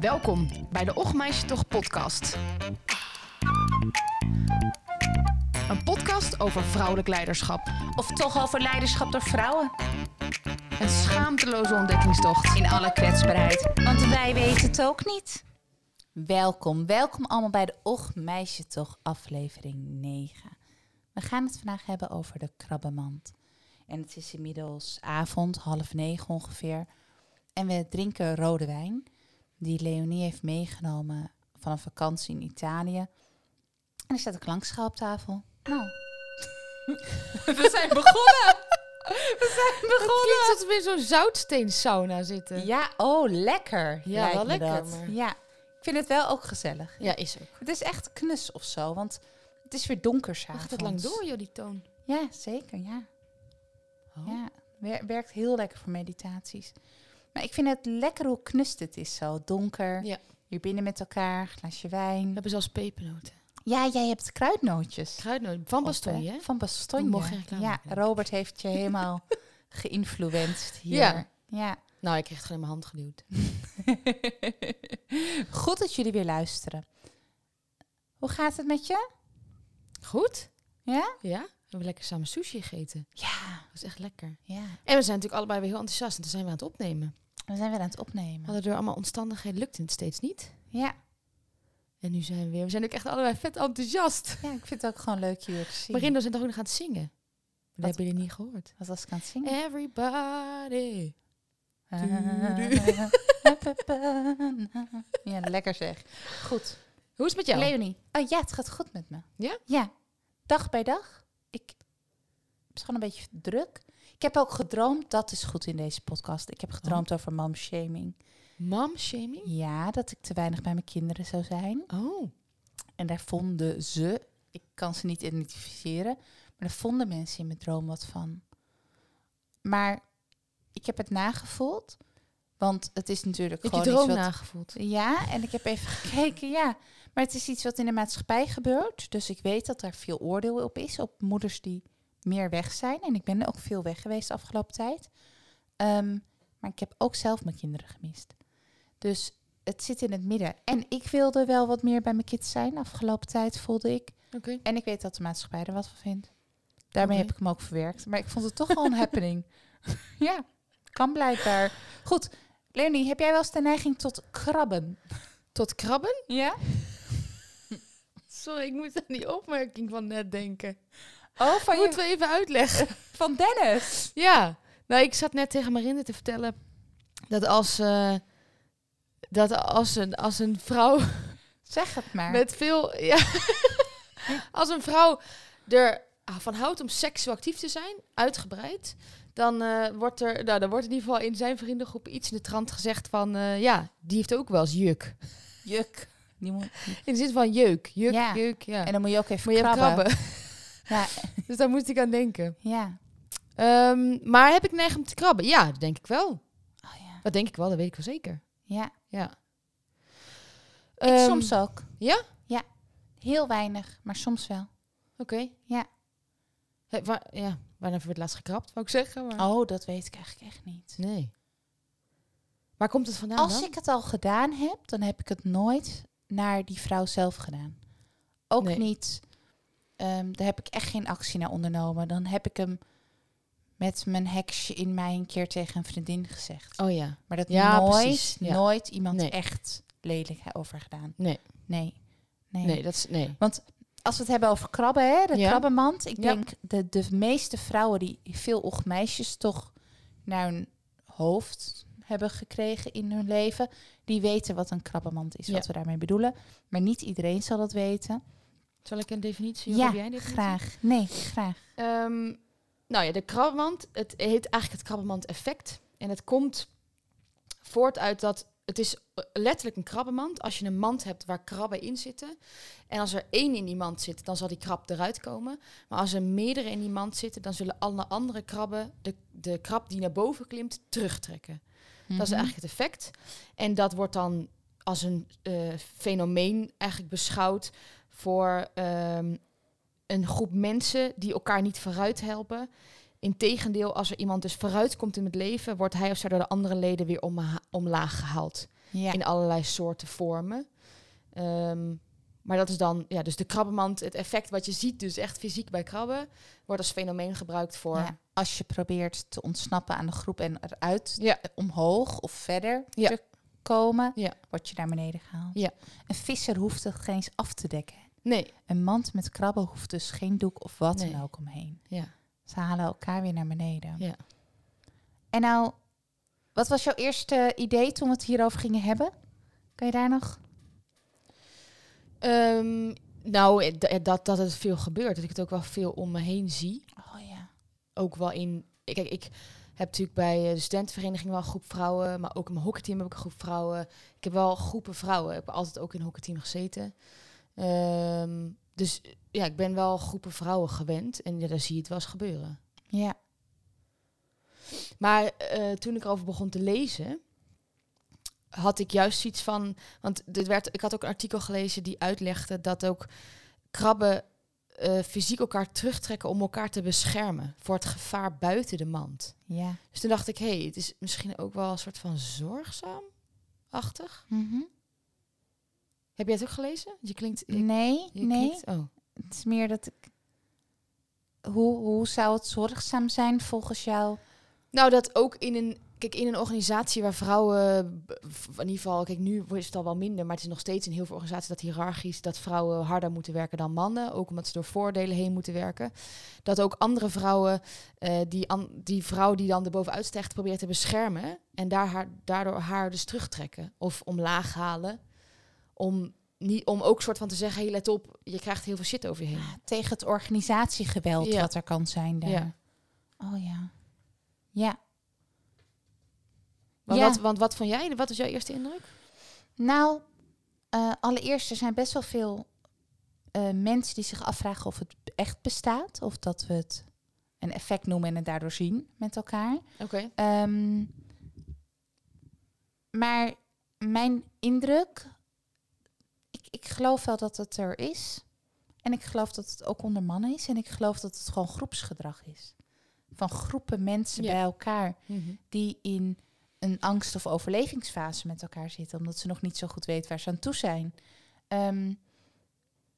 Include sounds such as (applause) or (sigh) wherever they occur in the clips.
Welkom bij de Och Meisje Toch podcast. Een podcast over vrouwelijk leiderschap. Of toch over leiderschap door vrouwen? Een schaamteloze ontdekkingstocht. In alle kwetsbaarheid. Want wij weten het ook niet. Welkom, welkom allemaal bij de Och Meisje Toch aflevering 9. We gaan het vandaag hebben over de krabbenmand. En het is inmiddels avond, half negen ongeveer. En we drinken rode wijn die Leonie heeft meegenomen van een vakantie in Italië. En er staat een klankschaal op tafel. Nou. We zijn begonnen! We zijn begonnen! Klinkt dat we in zo'n zoutsteensauna zitten. Ja, oh, lekker. Ja, lijkt wel me lekker, dat. maar- Ja, ik vind het wel ook gezellig. Ja, is ook. Het is echt knus of zo, want het is weer donker s'avonds. Gaat het lang door, joh, die toon? Ja, zeker, ja. Oh. Ja, wer- werkt heel lekker voor meditaties. Maar ik vind het lekker hoe knust het is zo. Donker, Ja. hier binnen met elkaar, glaasje We wijn. hebben zelfs pepernoten. Ja, jij hebt kruidnootjes. Kruidnoten. Van Bastogne, Op, hè? eh, Van Bastogne. Ik mocht geen reclame Ja, maken. Robert heeft je (laughs) helemaal geïnfluenced hier. Ja. ja. Nou, ik kreeg het gewoon in mijn hand geduwd. Goed dat jullie weer luisteren. Hoe gaat het met je? Goed? Ja? Ja. We hebben lekker samen sushi gegeten. Ja. Dat is echt lekker. ja. En we zijn natuurlijk allebei weer heel enthousiast. En toen zijn we aan het opnemen. We zijn weer aan het We opnemen. hadden door allemaal omstandigheden lukte het steeds niet. Ja. En nu zijn we weer. We zijn ook echt allebei vet enthousiast. ja, ik vind het ook gewoon leuk hier te zien. Marindo zijn toch ook nog aan het zingen? Dat Wat? hebben jullie niet gehoord. Wat was ik aan het zingen? Everybody. (laughs) Ja, lekker zeg. Goed. Hoe is het met jou? Leonie. Oh ja, het gaat goed met me. Ja? Ja. Dag bij dag. Ik het is gewoon een beetje druk. Ik heb ook gedroomd, dat is goed in deze podcast. Ik heb gedroomd over momshaming. Mom shaming? Ja, dat ik te weinig bij mijn kinderen zou zijn. Oh. En daar vonden ze, ik kan ze niet identificeren, maar daar vonden mensen in mijn droom wat van. Maar ik heb het nagevoeld, want het is natuurlijk Heb je gewoon droom iets wat... nagevoeld? Ja, en ik heb even (laughs) gekeken, ja. Maar het is iets wat in de maatschappij gebeurt, dus ik weet dat er veel oordeel op is, op moeders die meer weg zijn. En ik ben ook veel weg geweest de afgelopen tijd. Ehm, maar ik heb ook zelf mijn kinderen gemist. Dus het zit in het midden. En ik wilde wel wat meer bij mijn kids zijn. Afgelopen tijd voelde ik. Oké. En ik weet dat de maatschappij er wat van vindt. Daarmee Oké. heb ik hem ook verwerkt. Maar ik vond het toch wel een happening. Ja, kan blijkbaar. Goed, Leonie, heb jij wel eens de neiging tot krabben? Tot krabben? Ja? Sorry, ik moet aan die opmerking van net denken. Oh, van, je, Moeten we even uitleggen? van Dennis. (laughs) ja. Nou, ik zat net tegen Marinde te vertellen dat als, eh, dat als, een, als een vrouw Zeg het maar. met veel... Ja, (laughs) als een vrouw ervan houdt om seksueel actief te zijn, uitgebreid... Dan, eh, wordt er, nou, dan wordt in ieder geval in zijn vriendengroep iets in de trant gezegd van... eh, ja, die heeft ook wel eens juk. Juk. Die moet, In de zin van jeuk, juk, Ja. jeuk, ja. en dan moet je ook even Moet je hem krabben. krabben. Ja, (laughs) Dus daar moest ik aan denken. ja. Ehm, maar heb ik neiging om te krabben? Ja, dat denk ik wel. Oh ja. Dat denk ik wel, dat weet ik wel zeker. Ja, Ja. ik Ehm, soms ook. ja? Ja. Heel weinig, maar soms wel. Oké. Ja. Hé, waar, ja, wanneer heb je het laatst gekrapt, wou ik zeggen. Maar... Oh, dat weet ik eigenlijk echt niet. Nee. Waar komt het vandaan Als dan? ik het al gedaan heb, dan heb ik het nooit naar die vrouw zelf gedaan. Ook Nee. niet. ehm, daar heb ik echt geen actie naar ondernomen. Dan heb ik hem met mijn heksje in mij een keer tegen een vriendin gezegd. Oh ja. Maar dat Ja, nooit, precies, ja. nooit iemand Nee. echt lelijk over gedaan. Nee. Nee. Nee. Nee, dat is... Nee. Als we het hebben over krabben, hè, de Ja. krabbenmand. Ik Ja. denk de, de meeste vrouwen die veel och meisjes toch naar hun hoofd hebben gekregen in hun leven, die weten wat een krabbenmand is, Ja. wat we daarmee bedoelen. Maar niet iedereen zal dat weten. Zal ik een definitie? Ja, heb jij een definitie? graag. Nee, graag. Ehm, nou ja, de krabbenmand. Het heet eigenlijk het krabbenmand-effect. En het komt voort uit dat het is eh, letterlijk een krabbenmand. Als je een mand hebt waar krabben in zitten. En als er één in die mand zit, dan zal die krab eruit komen. Maar als er meerdere in die mand zitten, dan zullen alle andere krabben de, de krab die naar boven klimt terugtrekken. Dat is eigenlijk het effect. En dat wordt dan als een eh, fenomeen eigenlijk beschouwd voor ehm, een groep mensen die elkaar niet vooruit helpen. Integendeel, als er iemand dus vooruit komt in het leven, wordt hij of zij door de andere leden weer omha- omlaag gehaald. Ja. in allerlei soorten vormen. Ehm, maar dat is dan, ja, dus de krabbenmand, het effect wat je ziet, dus echt fysiek bij krabben, wordt als fenomeen gebruikt voor. Ja, als je probeert te ontsnappen aan de groep en eruit Ja. eh, omhoog of verder Ja. te komen, Ja. word je naar beneden gehaald. Ja. Een visser hoeft het geen eens af te dekken. Nee. Een mand met krabben hoeft dus geen doek of wat Nee. dan ook omheen. Ja. Ze halen elkaar weer naar beneden. Ja. En nou, wat was jouw eerste idee toen we het hierover gingen hebben? Kan je daar nog? Ehm, nou, eh, d- eh, dat, dat het veel gebeurt, dat ik het ook wel veel om me heen zie. Oh ja. Ook wel in. Kijk, ik heb natuurlijk bij eh, de studentenvereniging wel een groep vrouwen, maar ook in mijn hockeyteam heb ik een groep vrouwen. Ik heb wel groepen vrouwen. Ik heb altijd ook in een hockeyteam gezeten. Ehm, dus eh, ja, ik ben wel groepen vrouwen gewend en ja, daar zie je het wel eens gebeuren. Ja. Maar eh, toen ik erover begon te lezen, had ik juist zoiets van. Want dit werd, ik had ook een artikel gelezen die uitlegde dat ook krabben eh, fysiek elkaar terugtrekken om elkaar te beschermen voor het gevaar buiten de mand. Ja. Dus toen dacht ik, hé, hey, het is misschien ook wel een soort van zorgzaam-achtig. Mhm. Heb jij het ook gelezen? Je klinkt. Je, Nee, je nee. klinkt- oh. Het is meer dat ik. Hoe, hoe zou het zorgzaam zijn volgens jou? Nou, dat ook in een. Kijk, in een organisatie waar vrouwen, b- v- in ieder geval, kijk, nu is het al wel minder, maar het is nog steeds in heel veel organisaties dat hiërarchisch, dat vrouwen harder moeten werken dan mannen, ook omdat ze door voordelen heen moeten werken. Dat ook andere vrouwen, eh, die, an- die vrouw die dan erbovenuit stijgt, probeert te beschermen en daar haar, daardoor haar dus terugtrekken of omlaag halen. Om, niet, om ook soort van te zeggen, hey, let op, je krijgt heel veel shit over je heen. Tegen het organisatiegeweld Ja. wat er kan zijn Ah, daar. Ja. Oh ja. Ja. Want, Ja. wat, want wat vond jij, wat is jouw eerste indruk? Nou, eh, allereerst, er zijn best wel veel eh, mensen die zich afvragen of het echt bestaat. Of dat we het een effect noemen en het daardoor zien met elkaar. Oké. Ehm, maar mijn indruk, ik, ik geloof wel dat het er is. En ik geloof dat het ook onder mannen is. En ik geloof dat het gewoon groepsgedrag is. Van groepen mensen Ja. bij elkaar Mhm. die in een angst- of overlevingsfase met elkaar zitten, omdat ze nog niet zo goed weten waar ze aan toe zijn. Ehm,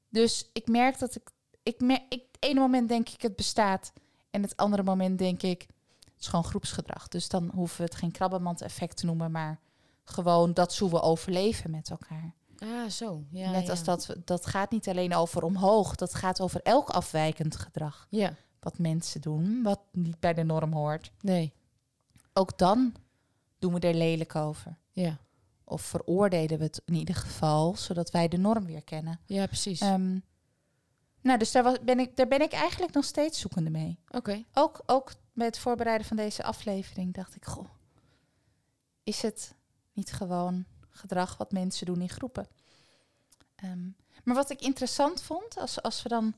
dus ik merk dat ik, ik, mer ik. Het ene moment denk ik het bestaat, en het andere moment denk ik het is gewoon groepsgedrag. Dus dan hoeven we het geen krabbenmand-effect te noemen, maar gewoon dat zo we overleven met elkaar. Ah, zo. Ja, Net ja. als dat we- dat gaat niet alleen over omhoog, dat gaat over elk afwijkend gedrag Ja, wat mensen doen, wat niet bij de norm hoort. nee. Ook dan doen we er lelijk over. Ja, Of veroordelen we het in ieder geval, zodat wij de norm weer kennen. ja precies. Ehm, nou, dus daar, was, ben ik, daar ben ik eigenlijk nog steeds zoekende mee. Oké. Ook, ook bij het voorbereiden van deze aflevering dacht ik, goh, is het niet gewoon gedrag wat mensen doen in groepen? Ehm, maar wat ik interessant vond, als, als we dan,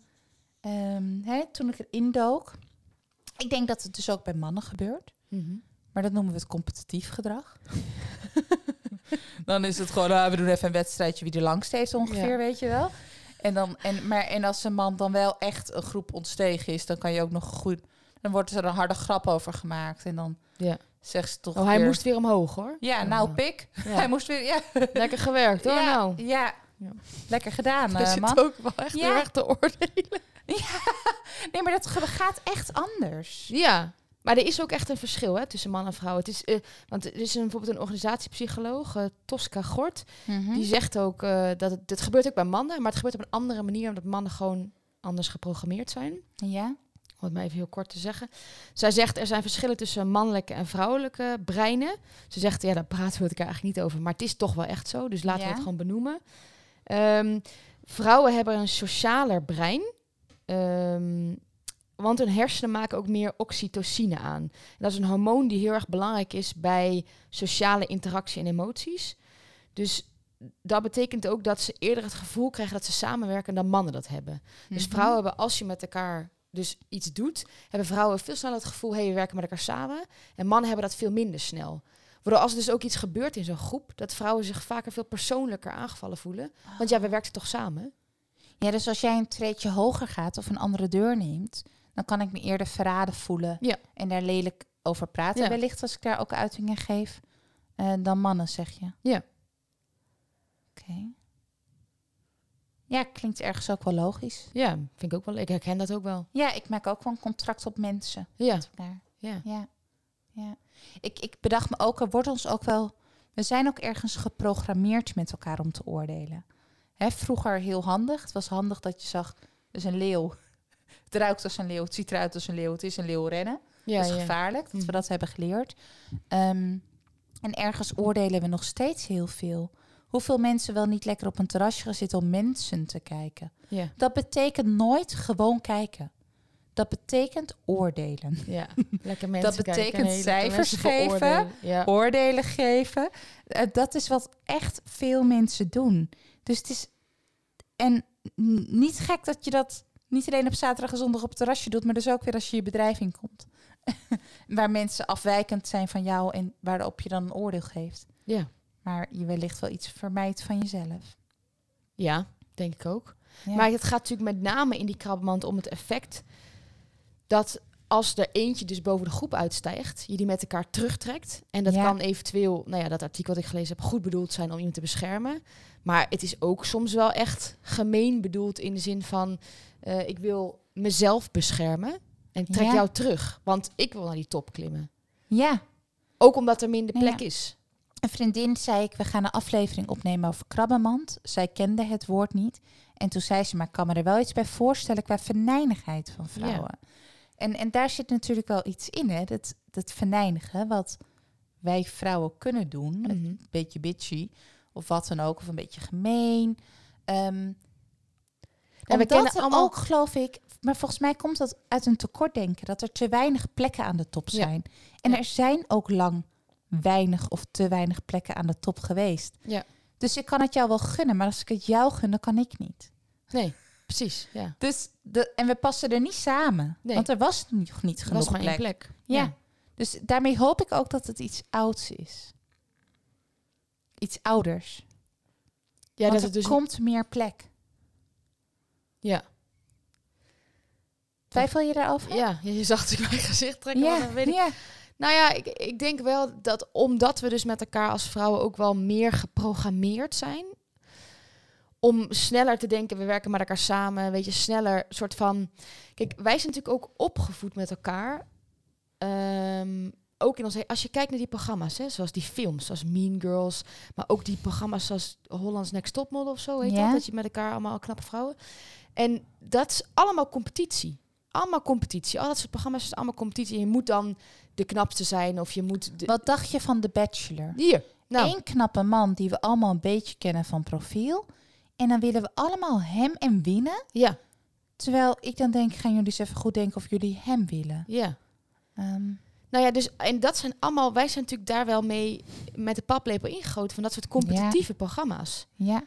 ehm, hè, toen ik erin dook, ik denk dat het dus ook bij mannen gebeurt. Mhm. Maar dat noemen we het competitief gedrag. (laughs) dan is het gewoon, ah, we doen even een wedstrijdje wie de langste heeft ongeveer, Ja. weet je wel. En, dan, en, maar, en als een man dan wel echt een groep ontstegen is, dan kan je ook nog goed... Dan wordt er een harde grap over gemaakt. En dan Ja. zegt ze toch Oh, hij weer, moest weer omhoog hoor. Ja, nou pik. Hij Ja. moest weer... Ja, Lekker gewerkt hoor. ja, nou. ja. Ja. lekker gedaan, (laughs) Hij eh, zit man. ook wel echt Ja. heel erg te oordelen. Nee, maar dat ge- gaat echt anders. Ja. Maar er is ook echt een verschil hè, tussen man en vrouw. Het is, eh, want er is een, bijvoorbeeld een organisatiepsycholoog, eh, Tosca Gort. Mhm. Die zegt ook eh, dat het, dit gebeurt ook bij mannen. Maar het gebeurt op een andere manier. Omdat mannen gewoon anders geprogrammeerd zijn. Ja? om het maar even heel kort te zeggen. Zij zegt er zijn verschillen tussen mannelijke en vrouwelijke breinen. Ze zegt ja, daar praten we het elkaar eigenlijk niet over, maar het is toch wel echt zo, dus laten Ja. we het gewoon benoemen. Ehm, vrouwen hebben een socialer brein, ehm, want hun hersenen maken ook meer oxytocine aan. En dat is een hormoon die heel erg belangrijk is bij sociale interactie en emoties. Dus dat betekent ook dat ze eerder het gevoel krijgen dat ze samenwerken dan mannen dat hebben. Dus Mhm. vrouwen hebben, als je met elkaar dus iets doet, hebben vrouwen veel sneller het gevoel, hé, hey, we werken met elkaar samen. En mannen hebben dat veel minder snel. Waardoor als er dus ook iets gebeurt in zo'n groep, dat vrouwen zich vaker veel persoonlijker aangevallen voelen. Want ja, we werken toch samen? Ja, dus als jij een treetje hoger gaat of een andere deur neemt, dan kan ik me eerder verraden voelen Ja. en daar lelijk over praten. Ja. Wellicht als ik daar ook uitingen geef, eh, dan mannen, zeg je. Ja. Ja, klinkt ergens ook wel logisch. Ja, vind ik ook wel. Ik herken dat ook wel. Ja, ik maak ook wel een contract op mensen. Ja, met elkaar. ja. Ja. ja. Ik, ik bedacht me ook, er wordt ons ook wel. We zijn ook ergens geprogrammeerd met elkaar om te oordelen. Hè, vroeger heel handig. Het was handig dat je zag, dat is een leeuw. (laughs) Het ruikt als een leeuw, het ziet eruit als een leeuw, het is een leeuw rennen. ja, dat is gevaarlijk, dat we Mhm. dat hebben geleerd. Ehm, en ergens oordelen we nog steeds heel veel. Hoeveel mensen wel niet lekker op een terrasje gaan zitten om mensen te kijken. Ja. Dat betekent nooit gewoon kijken. Dat betekent oordelen. (laughs) Ja, lekker mensen Dat kijken en betekent heel lekker cijfers mensen beoordelen. Ja. oordelen geven. Eh, dat is wat echt veel mensen doen. Dus het is. En n- niet gek dat je dat niet alleen op zaterdag en zondag op het terrasje doet, maar dus ook weer als je je bedrijf inkomt. (laughs) waar mensen afwijkend zijn van jou en waarop je dan een oordeel geeft. Ja. Maar je wellicht wel iets vermijdt van jezelf. ja, denk ik ook. Ja. Maar het gaat natuurlijk met name in die krabbemand om het effect dat als er eentje dus boven de groep uitstijgt, je die met elkaar terugtrekt. En dat Ja. kan eventueel, nou ja, dat artikel wat ik gelezen heb, goed bedoeld zijn om iemand te beschermen. Maar het is ook soms wel echt gemeen bedoeld in de zin van, eh, ik wil mezelf beschermen en ik trek Ja. jou terug. Want ik wil naar die top klimmen. ja. Ook omdat er minder Ja, ja. plek is. Een vriendin zei ik, we gaan een aflevering opnemen over krabbenmand. Zij kende het woord niet. En toen zei ze, maar ik kan me er wel iets bij voorstellen qua venijnigheid van vrouwen. En, en daar zit natuurlijk wel iets in, hè? Dat, dat venijnigen, wat wij vrouwen kunnen doen. Een Mhm. beetje bitchy, of wat dan ook, of een beetje gemeen. Ehm we en we kennen kennen allemaal- ook, geloof ik, maar volgens mij komt dat uit een tekortdenken. Dat er te weinig plekken aan de top Ja. zijn. En Ja. er zijn ook lang weinig of te weinig plekken aan de top geweest. Ja. Dus ik kan het jou wel gunnen, maar als ik het jou gun, dan kan ik niet. Nee, precies. Ja. Dus de, en we passen er niet samen. Nee. Want er was nog niet Er was genoeg maar één plek. plek. Ja. Dus daarmee hoop ik ook dat het iets ouds is. Iets ouders. Ja, Want dat het er dus... komt meer plek. Ja. Twijfel je daarover? ja, je zag het in mijn gezicht trekken. maar dat weet ik ja. Nou ja, ik, ik denk wel dat omdat we dus met elkaar als vrouwen ook wel meer geprogrammeerd zijn. Om sneller te denken, we werken met elkaar samen. Weet je, sneller soort van. Kijk, wij zijn natuurlijk ook opgevoed met elkaar. Ehm, ook in ons, als je kijkt naar die programma's, hè, zoals die films, zoals Mean Girls, maar ook die programma's zoals Hollands Next Topmodel of zo, heet Ja. dat, dat je met elkaar allemaal knappe vrouwen. En dat is allemaal competitie. Allemaal competitie. Al dat soort programma's is allemaal competitie. En je moet dan de knapste zijn of je moet... De... Wat dacht je van The Bachelor? Hier. Nou, Eén knappe man die we allemaal een beetje kennen van profiel. En dan willen we allemaal hem en winnen. ja, Terwijl ik dan denk, gaan jullie eens even goed denken of jullie hem willen. ja. Ehm, Nou ja, dus en dat zijn allemaal... Wij zijn natuurlijk daar wel mee met de paplepel ingegoten van dat soort competitieve programma's. ja.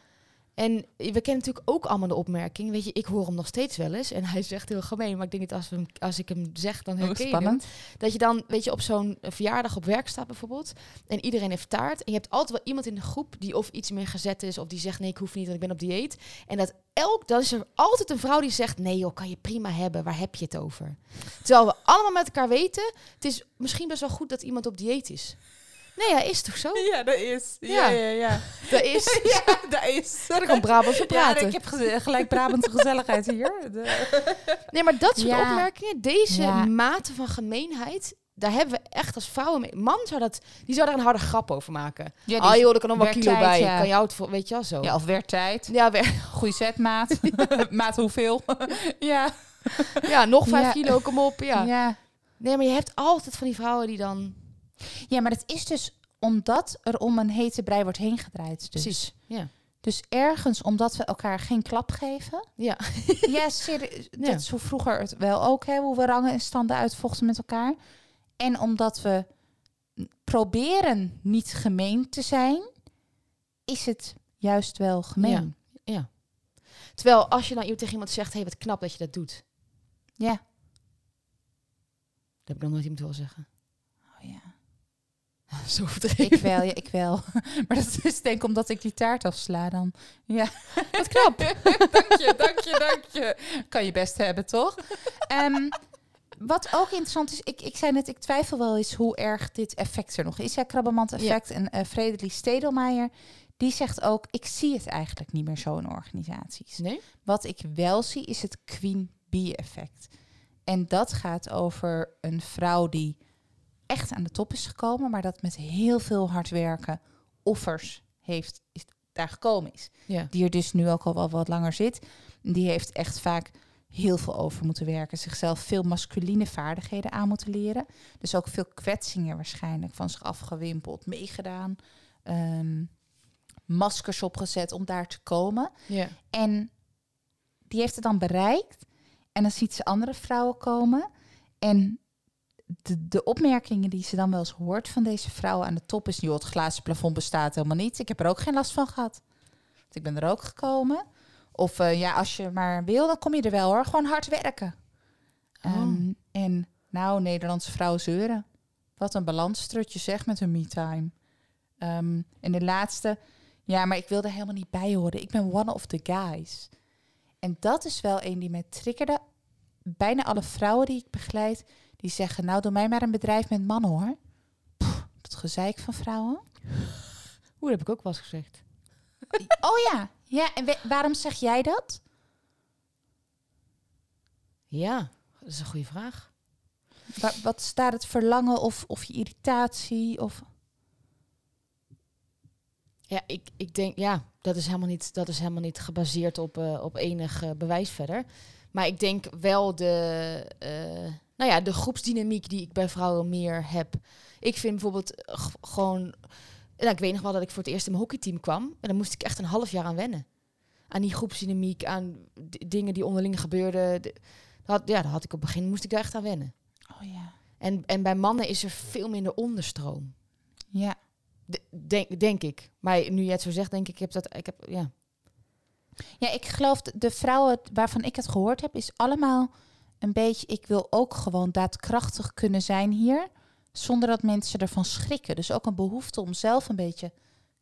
En we kennen natuurlijk ook allemaal de opmerking. Weet je, ik hoor hem nog steeds wel eens. En hij zegt heel gemeen, maar ik denk niet als, we hem, als ik hem zeg, dan herken je hem. spannend. Dat je dan, weet je, op zo'n eh, verjaardag op werk staat bijvoorbeeld. En iedereen heeft taart. En je hebt altijd wel iemand in de groep die of iets meer gezet is. Of die zegt, nee, ik hoef niet, want ik ben op dieet. En dat elk, dan is er altijd een vrouw die zegt, nee joh, kan je prima hebben. Waar heb je het over? Terwijl we allemaal met elkaar weten, het is misschien best wel goed dat iemand op dieet is. Nee, (laughs) ja, is toch zo? Ja, dat is. Ja, ja, ja. (laughs) Dat is. Ja, dat is. Daar kan Brabant voor praten. ik heb geze- gelijk Brabantse gezelligheid (laughs) hier. De- Nee, maar dat soort Ja. opmerkingen, deze Ja. mate van gemeenheid, daar hebben we echt als vrouwen mee. Man zou dat, die zou daar een harde grap over maken. Ja, dus- Ah joh, er kan nog wel werktijd, kilo bij. ja. Kan jou het voor, weet je wel zo. ja, of weer tijd. Ja, weer- Goeie zetmaat. (laughs) maat hoeveel? ja. (laughs) ja, nog vijf Ja. kilo, kom op. Ja. ja. Nee, maar je hebt altijd van die vrouwen die dan... Ja, maar het is dus omdat er om een hete brei wordt heen gedraaid. Dus. Precies. Ja. Dus ergens, omdat we elkaar geen klap geven. Ja. (laughs) ja, serieus. Ja. Dat is hoe vroeger het wel ook, hè, hoe we rangen en standen uitvochten met elkaar. En omdat we n- proberen niet gemeen te zijn, is het juist wel gemeen. Terwijl als je dan iemand tegen iemand zegt, hé, hey, wat knap dat je dat doet. Ja. Dat heb ik nog nooit iemand wil (laughs) zeggen. Oh ja. zo overdreven. Ik wel, ja, ik wel. (laughs) Maar dat is denk ik omdat ik die taart afsla dan. Ja. (laughs) Wat knap. (laughs) dank je, dank je, dank je. Kan je best hebben, toch? Ehm, wat ook interessant is, ik, ik zei net, ik twijfel wel eens hoe erg dit effect er nog is. Ja, krabbemand effect. En eh Frederik Stedelmeijer, Die zegt ook, ik zie het eigenlijk niet meer zo in organisaties. Nee? Wat ik wel zie is het queen bee effect. En dat gaat over een vrouw die echt aan de top is gekomen, maar dat met heel veel hard werken offers heeft, is, daar gekomen is. Ja. Die er dus nu ook al wel wat langer zit. Die heeft echt vaak heel veel over moeten werken. Zichzelf veel masculine vaardigheden aan moeten leren. Dus ook veel kwetsingen waarschijnlijk van zich afgewimpeld, meegedaan. ehm, maskers opgezet om daar te komen. Ja. En die heeft het dan bereikt. En dan ziet ze andere vrouwen komen. En de, de opmerkingen die ze dan wel eens hoort van deze vrouwen aan de top is... joh, het glazen plafond bestaat helemaal niet. Ik heb er ook geen last van gehad. Want ik ben er ook gekomen. Of eh, ja, als je maar wil, dan kom je er wel hoor. Gewoon hard werken. Oh. Ehm, en nou, Nederlandse vrouwen zeuren. Wat een balansstrutje zeg met hun me-time. Ehm, en de laatste, ja, maar ik wil er helemaal niet bij horen. Ik ben one of the guys. En dat is wel een die mij triggerde. Bijna alle vrouwen die ik begeleid, die zeggen... nou, doe mij maar een bedrijf met mannen, hoor. Pff, dat gezeik van vrouwen. Hoe heb ik ook wel eens gezegd. Oh ja, ja. En we- waarom zeg jij dat? Ja, dat is een goede vraag. Wa- wat staat het verlangen of, of je irritatie? Of... Ja, ik, ik denk, ja, dat is helemaal niet, dat is helemaal niet gebaseerd op, eh, op enig eh, bewijs verder. Maar ik denk wel de, eh, nou ja, de groepsdynamiek die ik bij vrouwen meer heb. Ik vind bijvoorbeeld eh, g- gewoon, nou, ik weet nog wel dat ik voor het eerst in mijn hockeyteam kwam. En daar moest ik echt een half jaar aan wennen. Aan die groepsdynamiek, aan d- dingen die onderling gebeurden. De- Dat, ja, dat had ik op het begin, moest ik daar echt aan wennen. Oh ja. En, en bij mannen is er veel minder onderstroom. Ja. De- Denk, denk ik. Maar nu jij het zo zegt, denk ik, ik heb dat. Ik heb, ja. Ja, ik geloof de- de vrouwen waarvan ik het gehoord heb, is allemaal een beetje. Ik wil ook gewoon daadkrachtig kunnen zijn hier, zonder dat mensen ervan schrikken. Dus ook een behoefte om zelf een beetje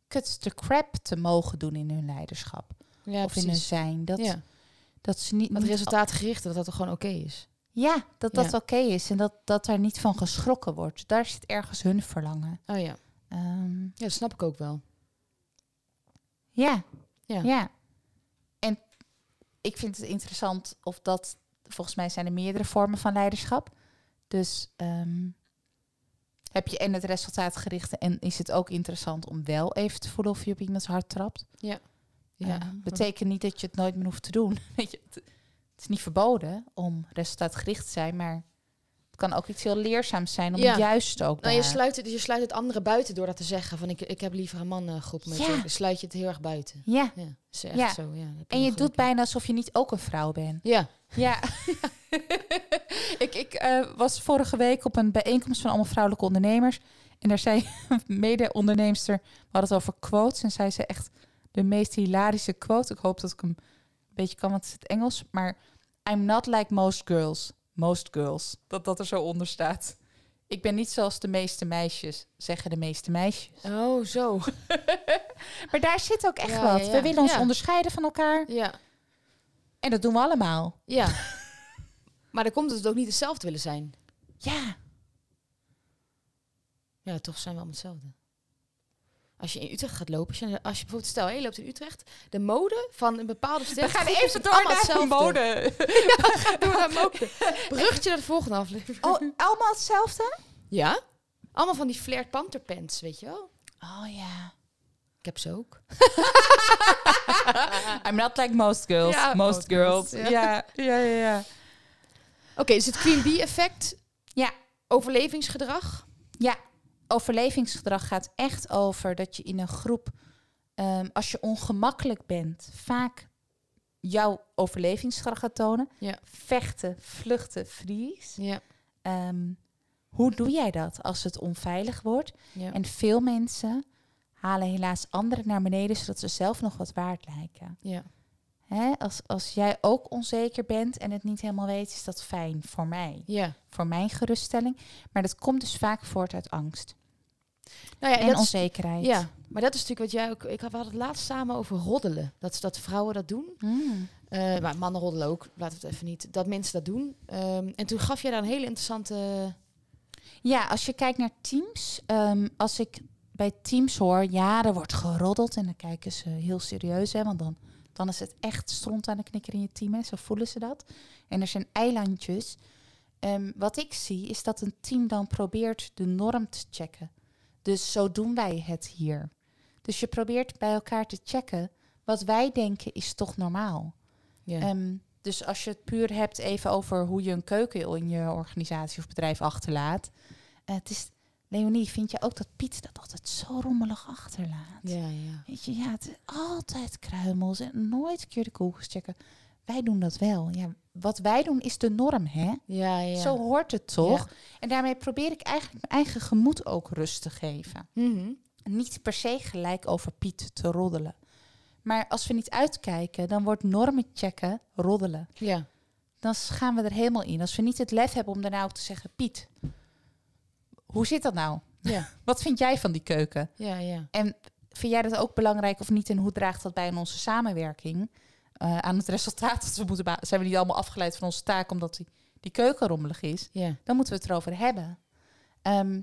kut de crap te mogen doen in hun leiderschap ja of in hun zijn. Dat, ja. dat ze niet Dat niet- resultaatgerichte, dat dat er gewoon oké is. Ja, dat dat Ja. oké is en dat dat daar niet van geschrokken wordt. Daar zit ergens hun verlangen. Oh ja. Ehm, ja, dat snap ik ook wel. Ja. Ja. Ja. En ik vind het interessant of dat... Volgens mij zijn er meerdere vormen van leiderschap. Dus ehm, heb je en het resultaat gericht... en is het ook interessant om wel even te voelen of je op iemands hart trapt. Ja. Eh, betekent niet dat je het nooit meer hoeft te doen. (laughs) Weet je, het, het is niet verboden om resultaatgericht te zijn, maar... Het kan ook iets heel leerzaams zijn om Ja. juist ook nou, je daar- sluit, het, je sluit het andere buiten door dat te zeggen. Van ik, ik heb liever een mangroep. met Ja. je. Dan sluit je het heel erg buiten. Ja, Ja, is echt Ja. zo. Ja, daar heb en wel je gelijk doet in. bijna alsof je niet ook een vrouw bent. Ja. Ja. (laughs) ik ik eh, was vorige week op een bijeenkomst van allemaal vrouwelijke ondernemers. En daar zei (laughs) een mede-onderneemster, we hadden het over quotes. En zij zei echt de meest hilarische quote. Ik hoop dat ik hem een beetje kan, want het is het Engels. Maar I'm not like most girls. Most girls. Dat dat er zo onder staat. Ik ben niet zoals de meeste meisjes, zeggen de meeste meisjes. Oh, zo. Maar daar zit ook echt Ja, wat. ja, ja. We willen ons Ja. onderscheiden van elkaar. (laughs) Ja. En dat doen we allemaal. Ja. (laughs) maar dan komt het ook niet hetzelfde willen zijn. Ja. Ja, toch zijn we allemaal hetzelfde. Als je in Utrecht gaat lopen, als je, als je bijvoorbeeld, stel, hé, je loopt in Utrecht, de mode van een bepaalde stad. (laughs) (laughs) We gaan even door naar de (laughs) mode. Door naar mode. Bruggetje naar de volgende aflevering. Oh, allemaal hetzelfde? Ja? Allemaal van die flared panter pants, weet je wel? Oh ja. Ik heb ze ook. Uh, I'm not like most girls. Ja, most, most girls. girls, Ja. ja, ja, ja. Oké, dus het Queen Bee effect. Ja. Overlevingsgedrag. Overlevingsgedrag gaat echt over dat je in een groep, ehm, als je ongemakkelijk bent, vaak jouw overlevingsgedrag gaat tonen. Ja. Vechten, vluchten, vries. Ja. Ehm, hoe doe jij dat als het onveilig wordt? ja. En veel mensen halen helaas anderen naar beneden zodat ze zelf nog wat waard lijken. ja. Hè, als, als jij ook onzeker bent en het niet helemaal weet, is dat fijn voor mij. ja. Voor mijn geruststelling. Maar dat komt dus vaak voort uit angst Nou ja, en, dat is- onzekerheid. ja, maar dat is natuurlijk wat jij ook... Ik had, we hadden het laatst samen over roddelen. Dat, dat vrouwen dat doen. Mm. Eh, maar mannen roddelen ook, laten we het even niet. Dat mensen dat doen. Ehm, en toen gaf jij daar een hele interessante... ja, als je kijkt naar teams, ehm, als ik bij teams hoor, ja, er wordt geroddeld en dan kijken ze heel serieus, hè, want dan, dan is het echt stront aan de knikker in je team, hè, zo voelen ze dat. En er zijn eilandjes. Ehm, wat ik zie is dat een team dan probeert de norm te checken. Dus zo doen wij het hier. Dus je probeert bij elkaar te checken wat wij denken is toch normaal. Ja. Ehm, dus als je het puur hebt even over hoe je een keuken in je organisatie of bedrijf achterlaat. Eh, het is, Leonie, vind je ook dat Piet dat altijd zo rommelig achterlaat? ja, ja. Weet je, ja, het is altijd kruimels en nooit een keer de koelkens checken. Wij doen dat wel. Ja, wat wij doen is de norm, hè? Ja, ja. Zo hoort het toch? En daarmee probeer ik eigenlijk mijn eigen gemoed ook rust te geven Mhm. niet per se gelijk over Piet te roddelen. Maar als we niet uitkijken, dan wordt normen checken roddelen. Ja. Dan gaan we er helemaal in. Als we niet het lef hebben om daarna ook te zeggen... Piet, hoe zit dat nou? Ja. (laughs) Wat vind jij van die keuken? Ja, ja. Vind jij dat ook belangrijk of niet? En hoe draagt dat bij aan onze samenwerking? Eh, aan het resultaat dat we moeten... beha- Zijn we niet allemaal afgeleid van onze taak omdat die, die keuken rommelig is? Ja. dan moeten we het erover hebben. Ehm,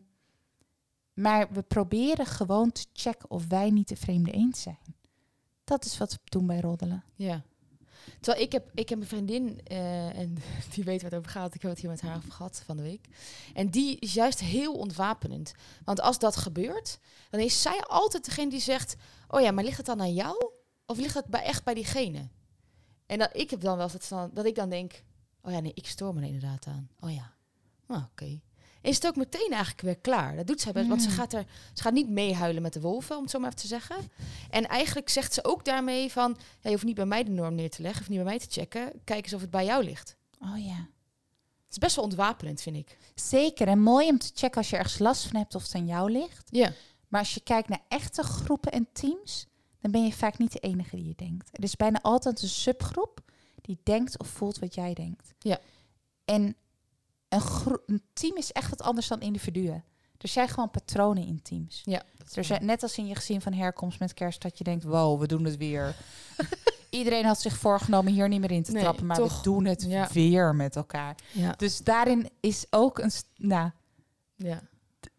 maar we proberen gewoon te checken of wij niet de vreemde eens zijn. Dat is wat we doen bij roddelen. Ja. Terwijl ik heb, ik heb een vriendin, eh, en (laughs) die weet waar het over gaat. Ik heb het hier met haar over gehad van de week. En die is juist heel ontwapenend. Want als dat gebeurt, dan is zij altijd degene die zegt... Oh ja, maar ligt het dan aan jou? Of ligt het bij, echt bij diegene? En dat, ik heb dan wel eens dat, dat ik dan denk... Oh ja, nee, ik stoor me er inderdaad aan. Oh ja, nou oké. En is het ook meteen eigenlijk weer klaar. Dat doet zij best, want ze Mm. gaat, er, ze gaat niet meehuilen met de wolven, om het zo maar even te zeggen. En eigenlijk zegt ze ook daarmee van... Ja, je hoeft niet bij mij de norm neer te leggen of niet bij mij te checken. Kijk eens of het bij jou ligt. Oh ja. Het is best wel ontwapenend, vind ik. Zeker en mooi om te checken als je ergens last van hebt of het aan jou ligt. Ja. Maar als je kijkt naar echte groepen en teams, dan ben je vaak niet de enige die je denkt. Er is bijna altijd een subgroep die denkt of voelt wat jij denkt. Ja. En een, gro- een team is echt wat anders dan individuen. Er zijn gewoon patronen in teams. Ja. Er zijn, net als in je gezin van herkomst met kerst, dat je denkt, wow, we doen het weer. (laughs) Iedereen had zich voorgenomen hier niet meer in te Nee, trappen, maar toch. we doen het Ja. weer met elkaar. Ja. Dus daarin is ook een... st- Nou, ja.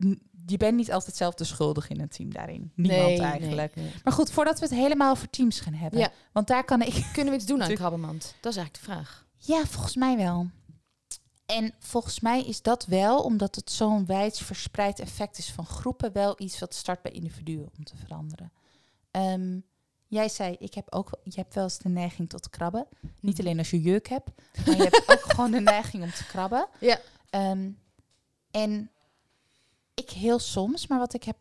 n- je bent niet altijd zelf de schuldig in een team daarin. Niemand Nee, nee, eigenlijk. nee. Maar goed, voordat we het helemaal over teams gaan hebben. Ja. Want daar kan ik... Kunnen we iets doen aan Tuurlijk. krabbemand? Dat is eigenlijk de vraag. Ja, volgens mij wel. En volgens mij is dat wel, omdat het zo'n wijd verspreid effect is van groepen, wel iets wat start bij individuen om te veranderen. Ehm, jij zei, ik heb ook, je hebt wel eens de neiging tot krabben. Niet alleen als je jeuk hebt, maar je hebt ook gewoon de neiging om te krabben. Ja. Ehm, en ik heel soms, maar wat ik heb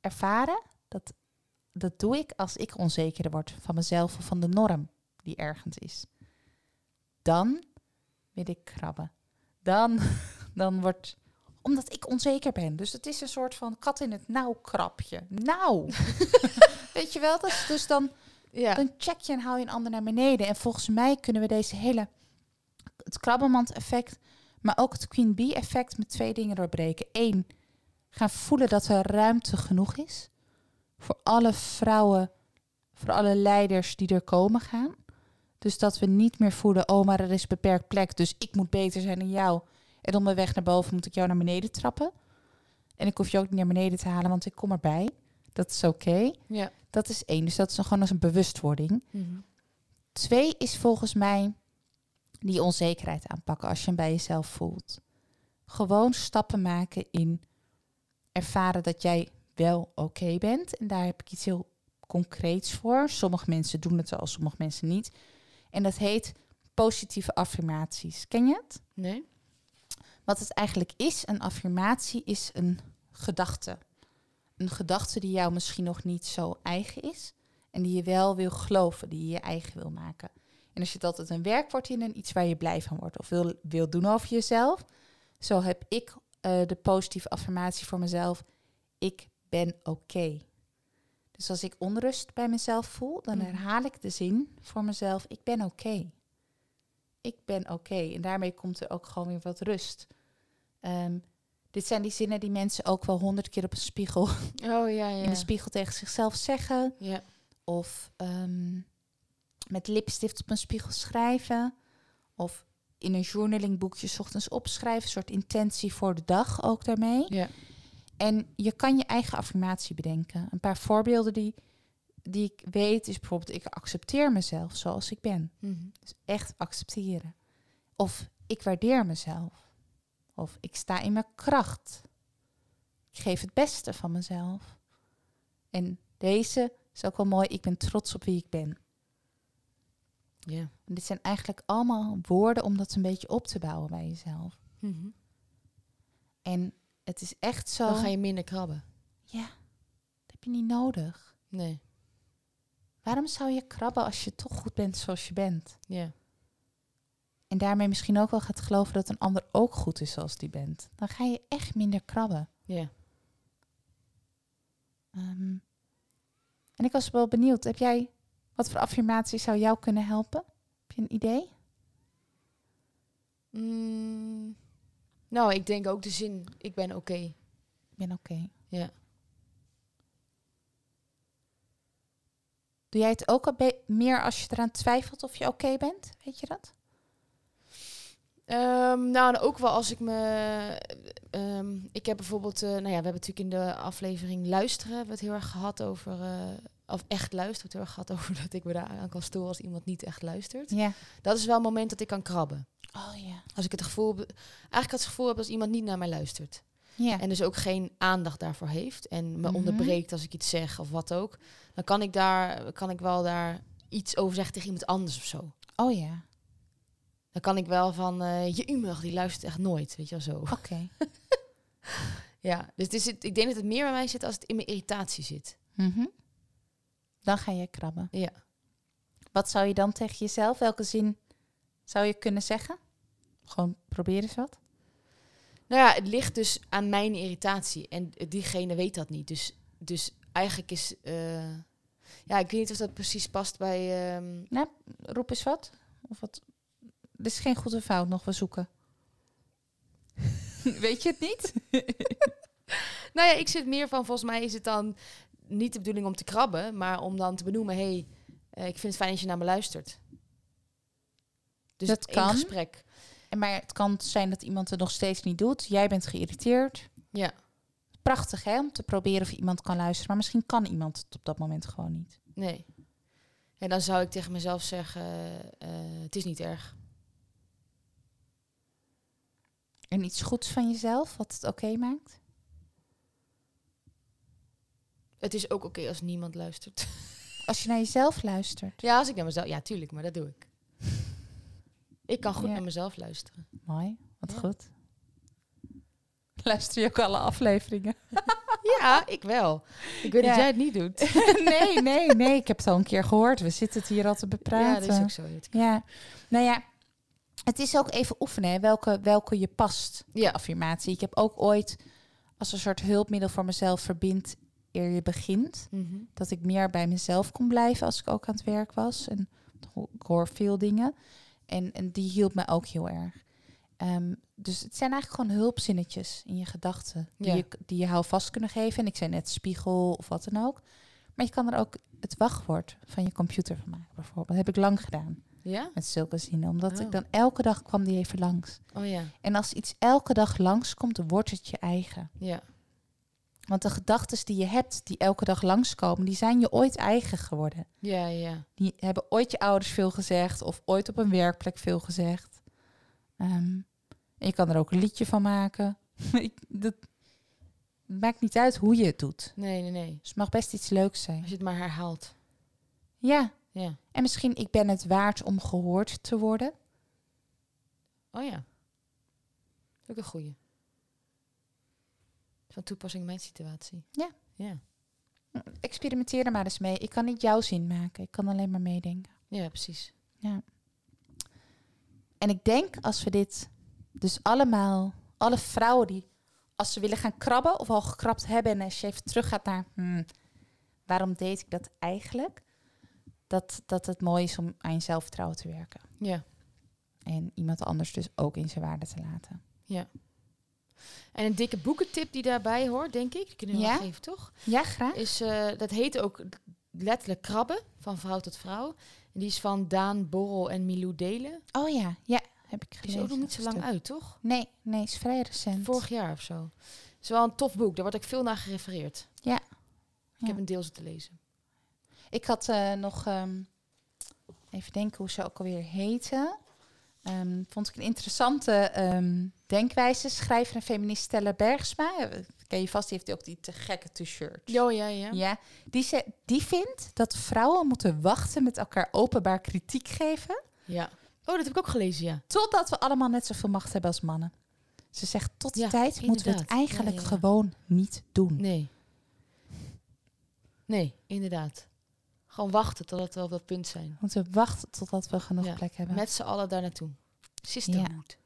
ervaren, dat, dat doe ik als ik onzekerder word van mezelf of van de norm die ergens is. Dan wil ik krabben. Dan, (laughs) dan wordt omdat ik onzeker ben. Dus het is een soort van kat in het nauw krabje. Nou. Weet je wel, dat is dus dan Ja. dan check je en haal je een ander naar beneden. En volgens mij kunnen we deze hele... Het krabbemand-effect, maar ook het Queen Bee-effect... met twee dingen doorbreken. Eén, gaan voelen dat er ruimte genoeg is... voor alle vrouwen, voor alle leiders die er komen gaan. Dus dat we niet meer voelen... oh, maar er is beperkt plek, dus ik moet beter zijn dan jou. En op mijn weg naar boven moet ik jou naar beneden trappen. En ik hoef je ook niet naar beneden te halen, want ik kom erbij. Dat is oké. Ja. Dat is één. Dus dat is dan gewoon als een bewustwording. Mhm. Twee is volgens mij die onzekerheid aanpakken als je hem bij jezelf voelt. Gewoon stappen maken in ervaren dat jij wel oké bent. En daar heb ik iets heel concreets voor. Sommige mensen doen het al, sommige mensen niet. En dat heet positieve affirmaties. Ken je het? Nee? Wat het eigenlijk is, een affirmatie is een gedachte. Een gedachte die jou misschien nog niet zo eigen is. En die je wel wil geloven, die je je eigen wil maken. En er zit altijd een werkwoord in en iets waar je blij van wordt. Of wil, wil doen over jezelf. Zo heb ik eh, de positieve affirmatie voor mezelf. Ik ben oké. Dus als ik onrust bij mezelf voel, dan Mhm. herhaal ik de zin voor mezelf. Ik ben oké. Ik ben oké. En daarmee komt er ook gewoon weer wat rust. Ehm, dit zijn die zinnen die mensen ook wel honderd keer op een spiegel Oh ja, ja. in de spiegel tegen zichzelf zeggen. Ja. Of ehm, met lipstift op een spiegel schrijven. Of in een journalingboekje 's ochtends opschrijven. Een soort intentie voor de dag ook daarmee. Ja. En je kan je eigen affirmatie bedenken. Een paar voorbeelden die, die ik weet is bijvoorbeeld... ik accepteer mezelf zoals ik ben. Mhm. Dus echt accepteren. Of ik waardeer mezelf. Of ik sta in mijn kracht. Ik geef het beste van mezelf. En deze is ook wel mooi. Ik ben trots op wie ik ben. Ja. En dit zijn eigenlijk allemaal woorden om dat een beetje op te bouwen bij jezelf. En het is echt zo. Mhm. Dan ga je minder krabben. Ja, dat heb je niet nodig. Nee. Waarom zou je krabben als je toch goed bent zoals je bent? Ja. En daarmee misschien ook wel gaat geloven dat een ander ook goed is zoals die bent. Dan ga je echt minder krabben. Ja. Ehm, en ik was wel benieuwd, heb jij wat voor affirmatie zou jou kunnen helpen? Heb je een idee? Mm, nou, ik denk ook de zin, ik ben oké. Ik ben oké. Ja. Doe jij het ook al be- meer als je eraan twijfelt of je oké bent? Weet je dat? Ehm, nou, en ook wel als ik me... ehm, ik heb bijvoorbeeld... eh, nou ja, we hebben natuurlijk in de aflevering Luisteren... hebben we het heel erg gehad over... eh, of echt luisteren, we hebben het heel erg gehad (laughs) over... dat ik me daaraan kan storen als iemand niet echt luistert. Ja. Dat is wel een moment dat ik kan krabben. Oh ja. Als ik het gevoel... heb- Eigenlijk het gevoel heb als iemand niet naar mij luistert. Ja. En dus ook geen aandacht daarvoor heeft. En me Mhm. onderbreekt als ik iets zeg of wat ook. Dan kan ik, daar, kan ik wel daar iets over zeggen tegen iemand anders of zo. Oh ja. Dan kan ik wel van, eh, je umag die luistert echt nooit, weet je wel zo. Oké. (laughs) Ja, dus het is het, ik denk dat het meer bij mij zit als het in mijn irritatie zit. Mhm. Dan ga je krabben. Ja. Wat zou je dan tegen jezelf? Welke zin zou je kunnen zeggen? Gewoon probeer eens wat. Nou ja, het ligt dus aan mijn irritatie. En diegene weet dat niet. Dus, dus eigenlijk is... eh, ja, ik weet niet of dat precies past bij... ehm, Roep eens wat. Of wat. Er is geen goede fout nog, we zoeken. (laughs) Weet je het niet? (laughs) Nou ja, ik zit meer van, volgens mij is het dan niet de bedoeling om te krabben, maar om dan te benoemen, hé, hey, eh, ik vind het fijn als je naar me luistert. Dus Dat in kan. gesprek. En Maar het kan zijn dat iemand het nog steeds niet doet. Jij bent geïrriteerd. Ja. Prachtig hè, om te proberen of iemand kan luisteren. Maar misschien kan iemand het op dat moment gewoon niet. Nee. En dan zou ik tegen mezelf zeggen, eh, het is niet erg. En iets goeds van jezelf, wat het oké maakt. Het is ook oké als niemand luistert. (laughs) Als je naar jezelf luistert. ja, als ik naar mezelf... Ja, tuurlijk, maar dat doe (laughs) ik. Ik kan goed Ja. naar mezelf (laughs) luisteren. Mooi, wat Ja. goed. Luister je ook alle afleveringen? ja, ik wel. Ik weet Ja. dat jij het niet doet. nee, nee, nee. Ik heb het al een keer gehoord. We zitten het hier al te (laughs) Ja, bepraten. dat is ook zo. Jut. Ja. nou ja, het is ook even oefenen hè, welke, welke je past. Ja. Affirmatie. Ik heb ook ooit als een soort hulpmiddel voor mezelf verbind eer je begint. Mhm. dat ik meer bij mezelf kon blijven als ik ook aan het werk was. En ik hoor veel dingen. En, en die hielp me ook heel erg. Ehm, dus het zijn eigenlijk gewoon hulpzinnetjes in je gedachten. Die, Ja. je, die je houvast kunnen geven. En ik zei net spiegel of wat dan ook. Maar je kan er ook het wachtwoord van je computer van maken bijvoorbeeld. Dat heb ik lang gedaan Ja? met zulke zinnen. Omdat Oh. ik dan elke dag kwam die even langs. Oh ja. En als iets elke dag langskomt, dan wordt het je eigen. Ja. Want de gedachten die je hebt, die elke dag langskomen, die zijn je ooit eigen geworden. Ja, ja. Die hebben ooit je ouders veel gezegd of ooit op een werkplek veel gezegd. Ehm, en je kan er ook een liedje van maken. (laughs) Ik, dat maakt niet uit hoe je het doet. Nee, nee, nee. Dus het mag best iets leuks zijn. Als je het maar herhaalt. Ja, Ja. en misschien ik ben het waard om gehoord te worden. Oh ja. Ook een goeie. Van toepassing in mijn situatie. Ja. Ja, Experimenteer er maar eens mee. Ik kan niet jouw zin maken. Ik kan alleen maar meedenken. ja precies. En ik denk als we dit dus allemaal, alle vrouwen die als ze willen gaan krabben of al gekrapt hebben en als je even teruggaat naar hmm, waarom deed ik dat eigenlijk, dat, dat het mooi is om aan je zelfvertrouwen te werken. Ja. En iemand anders dus ook in zijn waarde te laten. En een dikke boekentip die daarbij hoort, denk ik, die kunnen we Ja? wel geven, toch? Ja, graag. Is, eh, dat heet ook letterlijk krabben, van vrouw tot vrouw. En die is van Daan Borrel en Milou Delen. Oh ja, ja, heb ik Die gelezen. is ook nog niet zo lang Stuk. uit, toch? Nee, nee, is vrij recent. Vorig jaar of zo. is wel een tof boek. Daar word ik veel naar gerefereerd. Ja. Ik Ja. heb een deel zitten lezen. Ik had eh, nog ehm, even denken hoe ze ook alweer heten. Ehm, vond ik een interessante ehm, denkwijze. Schrijver en feminist Stella Bergsma. Eh, Ken je vast, die heeft ook die te gekke t-shirt. Jo, ja, ja. Ja, die, ze, die vindt dat vrouwen moeten wachten met elkaar openbaar kritiek geven. Ja. Oh, dat heb ik ook gelezen, ja. Totdat we allemaal net zoveel macht hebben als mannen. Ze zegt, tot die Ja, tijd moeten we het inderdaad. Ja, eigenlijk ja, ja. gewoon niet doen. Nee. Nee, inderdaad. Gewoon wachten totdat we op dat punt zijn. We moeten wachten totdat we genoeg Ja, plek hebben. Met z'n allen daar naartoe. Sisterhood.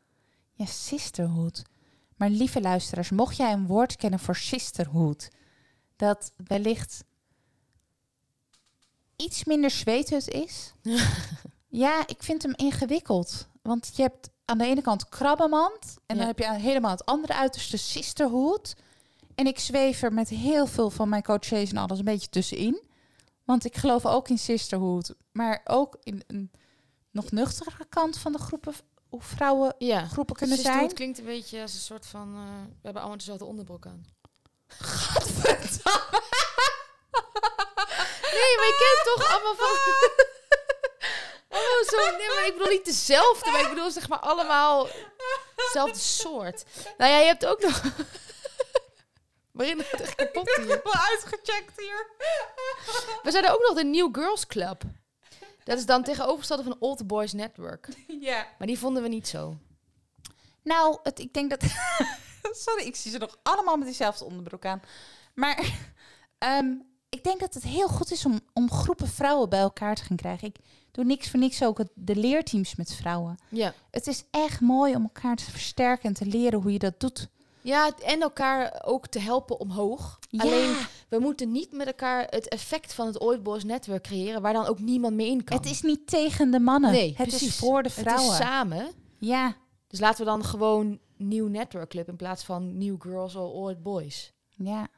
Ja, sisterhood. Maar lieve luisteraars, mocht jij een woord kennen voor sisterhood, dat wellicht iets minder zweethut is. ja, ik vind hem ingewikkeld. Want je hebt aan de ene kant krabbenmand en Ja. dan heb je aan- helemaal het andere uiterste sisterhood. En ik zweef er met heel veel van mijn coaches en alles een beetje tussenin. Want ik geloof ook in sisterhood, maar ook in een nog nuchtere kant van de groepen, hoe vrouwen Ja. groepen kunnen Sisterhood zijn. klinkt een beetje als een soort van... eh, we hebben allemaal dezelfde onderbroek aan. Gadverdamme. Nee, maar je kent toch allemaal van... oh, zo... Nee, maar ik bedoel niet dezelfde, maar ik bedoel zeg maar allemaal dezelfde soort. Nou ja, je hebt ook nog... Waarin het echt kapot hier. wel uitgecheckt (laughs) hier. We zijn er ook nog de New Girls Club. Dat is dan tegenovergestelde van Old Boys Network. Ja. Maar die vonden we niet zo. Nou, het, ik denk dat... (laughs) Sorry, ik zie ze nog allemaal met diezelfde onderbroek aan. Maar (laughs) ehm, ik denk dat het heel goed is om, om groepen vrouwen bij elkaar te gaan krijgen. Ik doe niks voor niks ook het- de leerteams met vrouwen. Ja. Het is echt mooi om elkaar te versterken en te leren hoe je dat doet. Ja, en elkaar ook te helpen omhoog. Alleen, we moeten niet met elkaar het effect van het Old Boys Network creëren... waar dan ook niemand meer in kan. het is niet tegen de mannen. Nee, het precies. is voor de Het is vrouwen. samen. ja, Dus laten we dan gewoon nieuw network club in plaats van new girls or old boys. ja.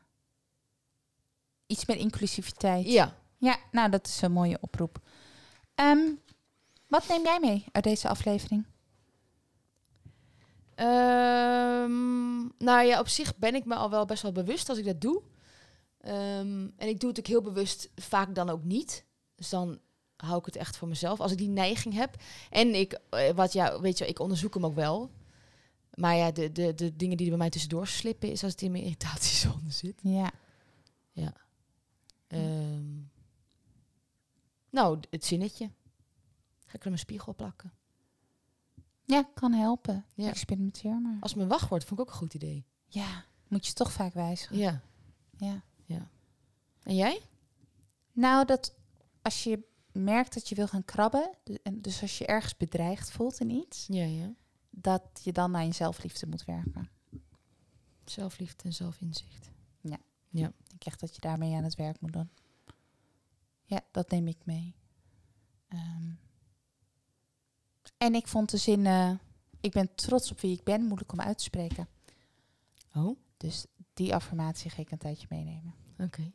Iets meer inclusiviteit. Ja. Ja, nou, dat is een mooie oproep. Ehm, wat neem jij mee uit deze aflevering? Ehm, nou ja, op zich ben ik me al wel best wel bewust als ik dat doe. Ehm, en ik doe het ook heel bewust, vaak dan ook niet. Dus dan hou ik het echt voor mezelf. Als ik die neiging heb. En ik, eh, wat ja, weet je, wel, ik onderzoek hem ook wel. Maar ja, de, de, de dingen die er bij mij tussendoor slippen, is als het in mijn irritatiezone zit. Ja, Ehm, nou, d- het zinnetje. Ga ik er mijn spiegel op plakken. ja kan helpen. Ja. Experimenteer maar. Als mijn wachtwoord vond ik ook een goed idee. Ja, moet je toch vaak wijzigen. Ja. Ja. En jij? Nou, dat als je merkt dat je wil gaan krabben, du- en dus als je ergens bedreigd voelt in iets, Ja, ja. dat je dan naar je zelfliefde moet werken. Zelfliefde en zelfinzicht. Ik echt dat je daarmee aan het werk moet doen. Ja, dat neem ik mee. Ehm, en ik vond de zin, eh, ik ben trots op wie ik ben, moeilijk om uit te spreken. Oh, Dus die affirmatie ga ik een tijdje meenemen. oké.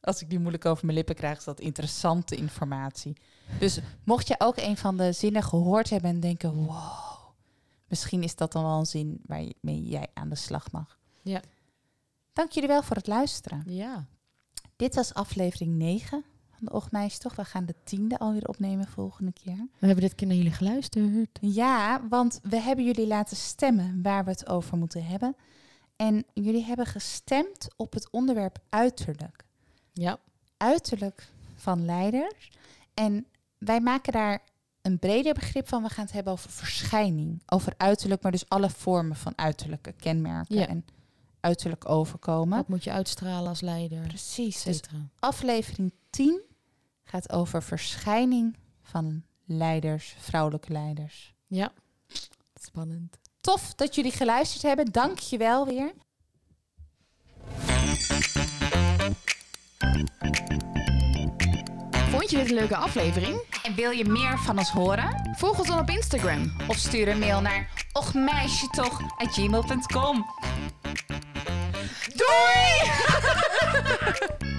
Als ik die moeilijk over mijn lippen krijg, is dat interessante informatie. Dus mocht je ook een van de zinnen gehoord hebben en denken, wow, misschien is dat dan wel een zin waarmee jij aan de slag mag. Ja. Dank jullie wel voor het luisteren. Ja. Dit was aflevering 9 van de Ochtmeisjes, toch? We gaan de tiende alweer opnemen volgende keer. We hebben dit keer naar jullie geluisterd. Ja, want we hebben jullie laten stemmen waar we het over moeten hebben. En jullie hebben gestemd op het onderwerp uiterlijk. Ja. Uiterlijk van leiders. En wij maken daar een breder begrip van. We gaan het hebben over verschijning, over uiterlijk, maar dus alle vormen van uiterlijke kenmerken Ja. en uiterlijk overkomen. Wat moet je uitstralen als leider? et Precies. Dus cetera. aflevering 10 gaat over verschijning van leiders, vrouwelijke leiders. Ja. Spannend. Tof dat jullie geluisterd hebben. Dank je wel weer. Vond je dit een leuke aflevering? En wil je meer van ons horen? Volg ons dan op Instagram. Of stuur een mail naar ochmeisjetoch.gmail.com (laughs) Doei!